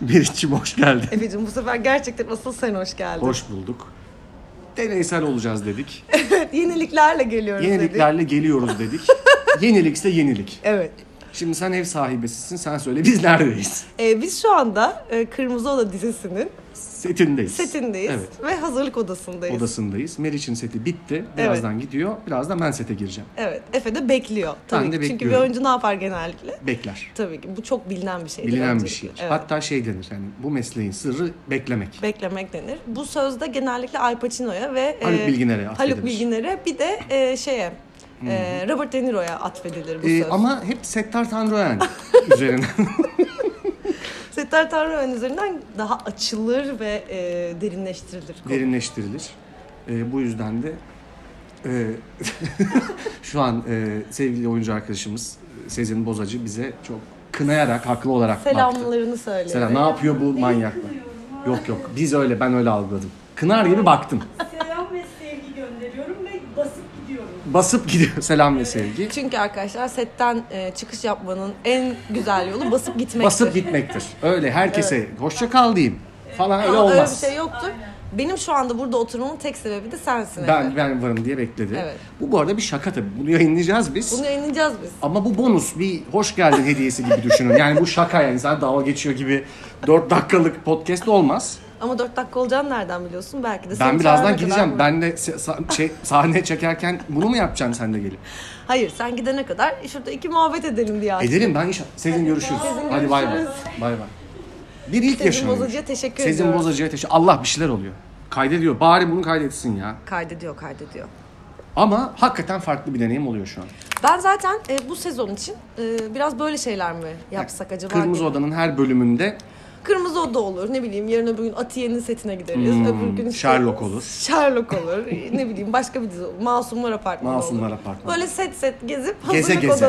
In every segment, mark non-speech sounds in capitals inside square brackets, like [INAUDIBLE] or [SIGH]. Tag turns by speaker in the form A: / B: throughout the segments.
A: Meriç'ciğim hoş geldin.
B: Efe'cim bu sefer gerçekten asıl sen hoş geldin.
A: Hoş bulduk. Deneysel olacağız dedik.
B: Evet, yeniliklerle geliyoruz dedik.
A: Yeniliklerle geliyoruz dedik. Yenilikse yenilik.
B: Evet.
A: Şimdi sen ev sahibesisin sen söyle biz neredeyiz?
B: Ee, biz şu anda e, Kırmızı Oda dizisinin
A: Setindeyiz.
B: setindeyiz
A: Evet.
B: ve hazırlık odasındayız.
A: Odasındayız. Meriç'in seti bitti. Birazdan gidiyor. Birazdan ben sete gireceğim.
B: Evet. Efe de bekliyor. Tabii
A: Ben de
B: ki. Çünkü bir
A: bekliyorum.
B: oyuncu ne yapar genellikle?
A: Bekler.
B: Tabii ki. Bu çok bilinen bir şey.
A: Bilinen bir şey.
B: Evet.
A: Hatta şey denir yani bu mesleğin sırrı beklemek.
B: Beklemek denir. Bu sözde genellikle Al Pacino'ya ve
A: Haluk
B: e,
A: Bilginer'e
B: Haluk
A: atfedilir.
B: Bilginer'e bir de e, şeye e, Robert De Niro'ya atfedilir bu
A: Ee,
B: söz.
A: ama hep Settar
B: [LAUGHS]
A: Tanrıören üzerine.
B: Settar Tanrıören üzerinden daha açılır ve e, derinleştirilir. konu.
A: derinleştirilir. Ee, bu yüzden de e, [LAUGHS] şu an e, sevgili oyuncu arkadaşımız Sezin Bozacı bize çok kınayarak haklı olarak baktı.
B: Selamlarını söyle.
A: Selam. Ne yapıyor bu manyaklar? Yok yok. Biz öyle ben öyle algıladım. Kınar gibi baktım.
C: Selam ve sevgi gönderiyorum ve basıp gidiyorum.
A: Basıp gidiyor. [LAUGHS] Selam ve sevgi.
B: Çünkü arkadaşlar setten e, çıkış yapmanın en güzel yolu basıp gitmektir.
A: Basıp gitmektir. Öyle herkese hoşça kal diyeyim falan öyle
B: Ama öyle
A: olmaz.
B: bir şey yoktur. Benim şu anda burada oturmamın tek sebebi de sensin.
A: Ben
B: Efe.
A: ben varım diye bekledi.
B: Evet.
A: Bu bu arada bir şaka tabii. Bunu yayınlayacağız biz.
B: Bunu yayınlayacağız biz.
A: Ama bu bonus bir hoş geldin hediyesi gibi düşünün. Yani bu şaka yani sen dalga geçiyor gibi 4 dakikalık podcast olmaz.
B: Ama 4 dakika olacağını nereden biliyorsun? Belki de
A: Ben
B: seni
A: birazdan
B: çağırana
A: gideceğim.
B: kadar-
A: Ben de se- sa- şey, sahneye çekerken bunu mu yapacaksın sen de gelip?
B: Hayır sen gidene kadar şurada iki muhabbet edelim diye. açtım.
A: Ederim ben inşallah. Sezin görüşürüz. Hadi bay bay. Bay bay. Bir ilk
B: Sezin
A: yaşanıyor.
B: Bozacı'ya teşekkür
A: Sezin
B: ediyorum.
A: Bozacı'ya teşekkür Allah bir şeyler oluyor. Kaydediyor. Bari bunu kaydetsin ya.
B: Kaydediyor kaydediyor.
A: Ama hakikaten farklı bir deneyim oluyor şu an.
B: Ben zaten e, bu sezon için e, biraz böyle şeyler mi yapsak acaba?
A: Kırmızı
B: diye.
A: Oda'nın her bölümünde
B: Kırmızı Oda olur. Ne bileyim yarın öbür gün Atiye'nin setine gideriz. öbür gün işte
A: Hmm, Sherlock olur.
B: Sherlock olur. ne bileyim başka bir dizi olur. Masumlar Apartmanı
A: Masumlar
B: olur.
A: Apartmanı.
B: Böyle set set gezip
A: Geze
B: hazırlık
A: geze.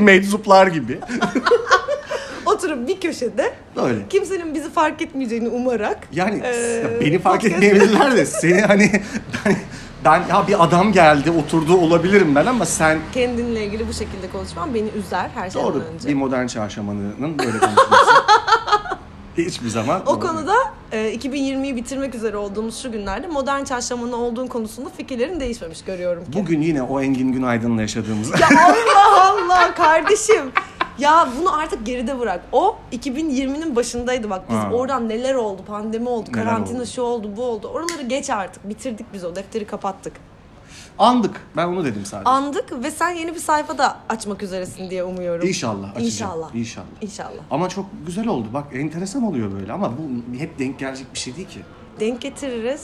A: [LAUGHS]
B: [LAUGHS]
A: meczuplar gibi.
B: oturup bir köşede
A: Böyle.
B: kimsenin bizi fark etmeyeceğini umarak
A: Yani
B: e,
A: ya beni fark
B: podcast-
A: etmeyebilirler de seni hani ben, ben ya bir adam geldi oturdu olabilirim ben ama sen
B: Kendinle ilgili bu şekilde konuşman beni üzer her şeyden
A: doğru
B: önce.
A: bir modern çarşamanının böyle konuşması.
B: [LAUGHS]
A: Hiçbir zaman.
B: O
A: doğru.
B: konuda e, 2020'yi bitirmek üzere olduğumuz şu günlerde modern çarşamanı olduğun konusunda fikirlerin değişmemiş görüyorum ki.
A: Bugün yine o Engin Günaydın'la yaşadığımız.
B: Ya Allah Allah kardeşim. Ya bunu artık geride bırak. O 2020'nin başındaydı bak biz
A: Ha.
B: oradan neler oldu pandemi oldu
A: Neler
B: karantina
A: oldu?
B: şu oldu bu oldu oraları geç artık bitirdik biz o defteri kapattık.
A: Andık. Ben onu dedim sadece.
B: Andık ve sen yeni bir sayfa da açmak üzeresin diye umuyorum.
A: İnşallah açacağım.
B: İnşallah.
A: İnşallah.
B: İnşallah.
A: Ama çok güzel oldu. Bak enteresan oluyor böyle ama bu hep denk gelecek bir şey değil ki.
B: Denk getiririz.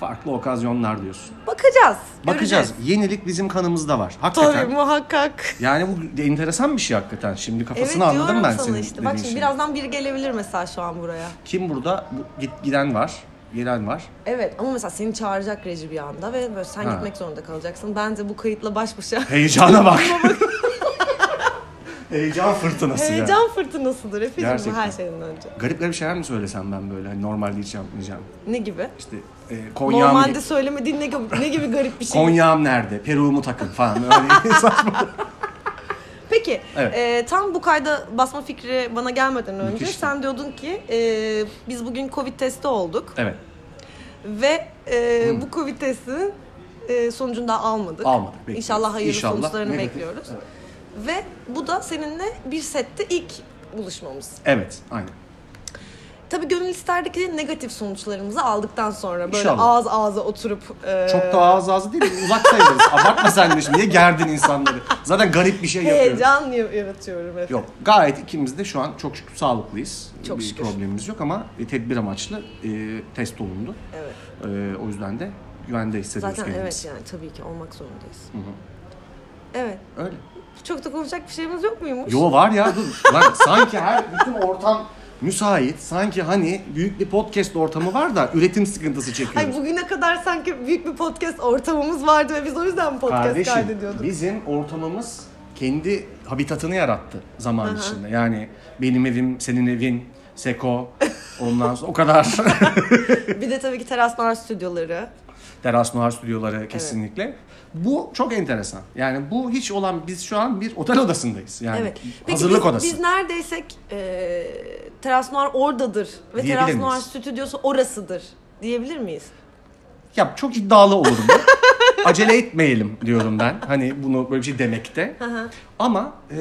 A: Farklı okazyonlar diyorsun.
B: Bakacağız.
A: Bakacağız.
B: göreceğiz.
A: Yenilik bizim kanımızda var. Hakikaten.
B: Tabii muhakkak.
A: Yani bu enteresan bir şey hakikaten. Şimdi kafasını
B: evet
A: anladım
B: diyorum
A: ben
B: sana
A: senin
B: işte.
A: dediğin
B: Bak şimdi
A: şeyi.
B: birazdan biri gelebilir mesela şu an buraya.
A: Kim burada? Bu- Git giden var, gelen var.
B: Evet ama mesela seni çağıracak reji bir anda ve böyle sen
A: Ha.
B: gitmek zorunda kalacaksın. Bence bu kayıtla baş başa
A: Heyecana bak. [LAUGHS] Heyecan fırtınası ya.
B: [LAUGHS] heyecan fırtınasıdır Efe'cim bu
A: Gerçekten.
B: her şeyden önce.
A: Garip garip şeyler mi söylesem ben böyle? Hani normalde hiç yapmayacağım.
B: Ne gibi?
A: İşte e, Konya'm,
B: Normalde söylemediğin ne gibi, ne gibi garip bir şey.
A: Konya'm nerede? Peru'mu takın falan.
B: [LAUGHS]
A: Öyle saçma.
B: Peki
A: Evet.
B: e, tam bu kayda basma fikri bana gelmeden önce
A: Müthişti.
B: sen diyordun ki e, biz bugün covid testi olduk
A: Evet. Hmm.
B: ve e, bu covid testinin e, sonucunu da almadık.
A: Almadık, bekliyoruz.
B: İnşallah hayırlı
A: İnşallah
B: sonuçlarını
A: negatif.
B: bekliyoruz. Ve bu da seninle bir sette ilk buluşmamız.
A: Evet. Aynen.
B: Tabii gönül isterdi ki negatif sonuçlarımızı aldıktan sonra böyle
A: İnşallah.
B: ağız ağza oturup e,
A: Çok da ağız ağzı değil. Uzak sayılırız. Abartma sen de şimdi. Niye gerdin insanları? Zaten garip bir şey yapıyoruz.
B: heyecan yaratıyorum. Efe.
A: Yok. Gayet ikimiz de şu an çok şükür sağlıklıyız.
B: Çok
A: bir
B: şükür.
A: problemimiz yok ama e, tedbir amaçlı e, test olundu.
B: Evet.
A: E, o yüzden de güvende hissediyoruz
B: Zaten
A: kendimizi.
B: evet yani tabii ki olmak zorundayız.
A: hı.
B: Evet.
A: Öyle.
B: Çok da konuşacak bir şeyimiz yok muymuş?
A: Yo var ya dur. Lan sanki her bütün ortam müsait. Sanki hani büyük bir podcast ortamı var da üretim sıkıntısı çekiyoruz.
B: Ay bugüne kadar sanki büyük bir podcast ortamımız vardı ve biz o yüzden podcast
A: Kardeşim
B: kaydediyorduk.
A: bizim ortamımız kendi habitatını yarattı zaman içinde. Yani benim evim, senin evin, Seko ondan sonra o kadar
B: [LAUGHS] Bir de tabii ki teraslar stüdyoları.
A: Teras Noir stüdyoları kesinlikle. Bu çok enteresan. Yani bu hiç olan biz şu an bir otel odasındayız. Yani
B: Evet. Peki
A: hazırlık
B: biz,
A: odası.
B: Biz neredeysek e, Teras Noir oradadır ve
A: Diyebilir
B: Teras
A: miyiz?
B: Noir stüdyosu orasıdır diyebilir miyiz?
A: Ya çok iddialı olurum. ben. [LAUGHS] Acele etmeyelim diyorum ben. Hani bunu böyle bir şey demekte. Ama e,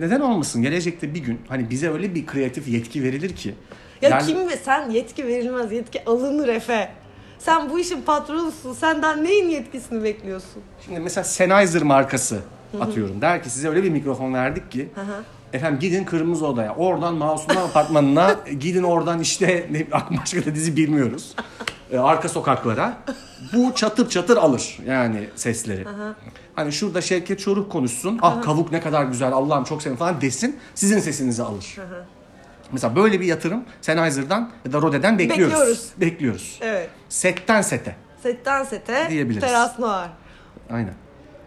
A: neden olmasın? Gelecekte bir gün hani bize öyle bir kreatif yetki verilir ki.
B: Ya
A: Yani-
B: kim ve sen yetki verilmez yetki alınır Efe. Sen bu işin patronusun. Senden neyin yetkisini bekliyorsun?
A: Şimdi mesela Sennheiser markası atıyorum. Der ki size öyle bir mikrofon verdik ki efendim gidin Kırmızı Oda'ya. Oradan Masumlar
B: [LAUGHS]
A: Apartmanı'na gidin oradan işte ne, başka da dizi bilmiyoruz. E, arka sokaklara. Bu çatır çatır alır yani sesleri. Hani şurada Şevket Çoruk konuşsun. Ah kavuk ne kadar güzel Allah'ım çok seviyorum falan desin. Sizin sesinizi alır. Mesela böyle bir yatırım Sennheiser'dan ya da Rode'den bekliyoruz.
B: Bekliyoruz.
A: Bekliyoruz.
B: Evet.
A: Setten sete.
B: Setten sete
A: Diyebiliriz.
B: Teras Noir.
A: Aynen.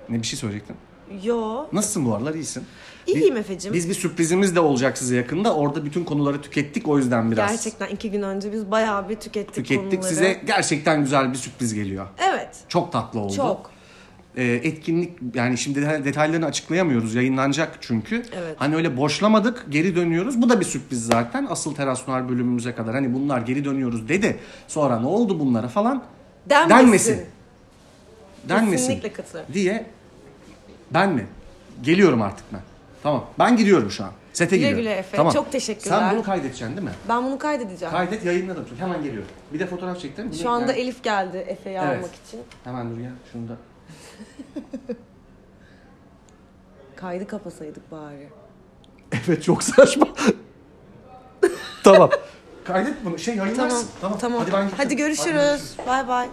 A: Ne bir şey söyleyecektin?
B: Yo.
A: Nasılsın bu aralar? İyisin.
B: İyiyim
A: Bi-
B: Efe'cim.
A: Biz bir sürprizimiz de olacak size yakında. Orada bütün konuları tükettik o yüzden biraz.
B: Gerçekten iki gün önce biz bayağı bir tükettik,
A: tükettik.
B: konuları.
A: Size gerçekten güzel bir sürpriz geliyor.
B: Evet.
A: Çok tatlı oldu.
B: Çok.
A: Ee, etkinlik yani şimdi de- detaylarını açıklayamıyoruz. Yayınlanacak çünkü.
B: Evet.
A: Hani öyle boşlamadık, geri dönüyoruz. Bu da bir sürpriz zaten. Asıl Teras Noir bölümümüze kadar. Hani bunlar geri dönüyoruz dedi. Sonra ne oldu bunlara falan
B: Denmesin.
A: Denmesin. denmesin.
B: Kesinlikle katılıyorum.
A: Diye ben mi? Geliyorum artık ben. Tamam. Ben gidiyorum şu an. Sete
B: Güle
A: gidiyorum.
B: güle Efe.
A: Tamam.
B: Çok teşekkürler.
A: Sen bunu kaydedeceksin değil mi?
B: Ben bunu kaydedeceğim.
A: Kaydet yayınladım. çünkü. Hemen geliyorum. Bir de fotoğraf çektim.
B: Şu anda
A: Yani-
B: Elif geldi Efe'yi
A: Evet.
B: almak için.
A: Hemen dur ya. Şunu [LAUGHS] da.
B: Kaydı kapasaydık bari.
A: Evet çok saçma. [LAUGHS] tamam. Kaydet bunu. Şey yayınlarsın. Tamam. Hadi
B: Hadi,
A: ben gittim.
B: görüşürüz. Bay bay.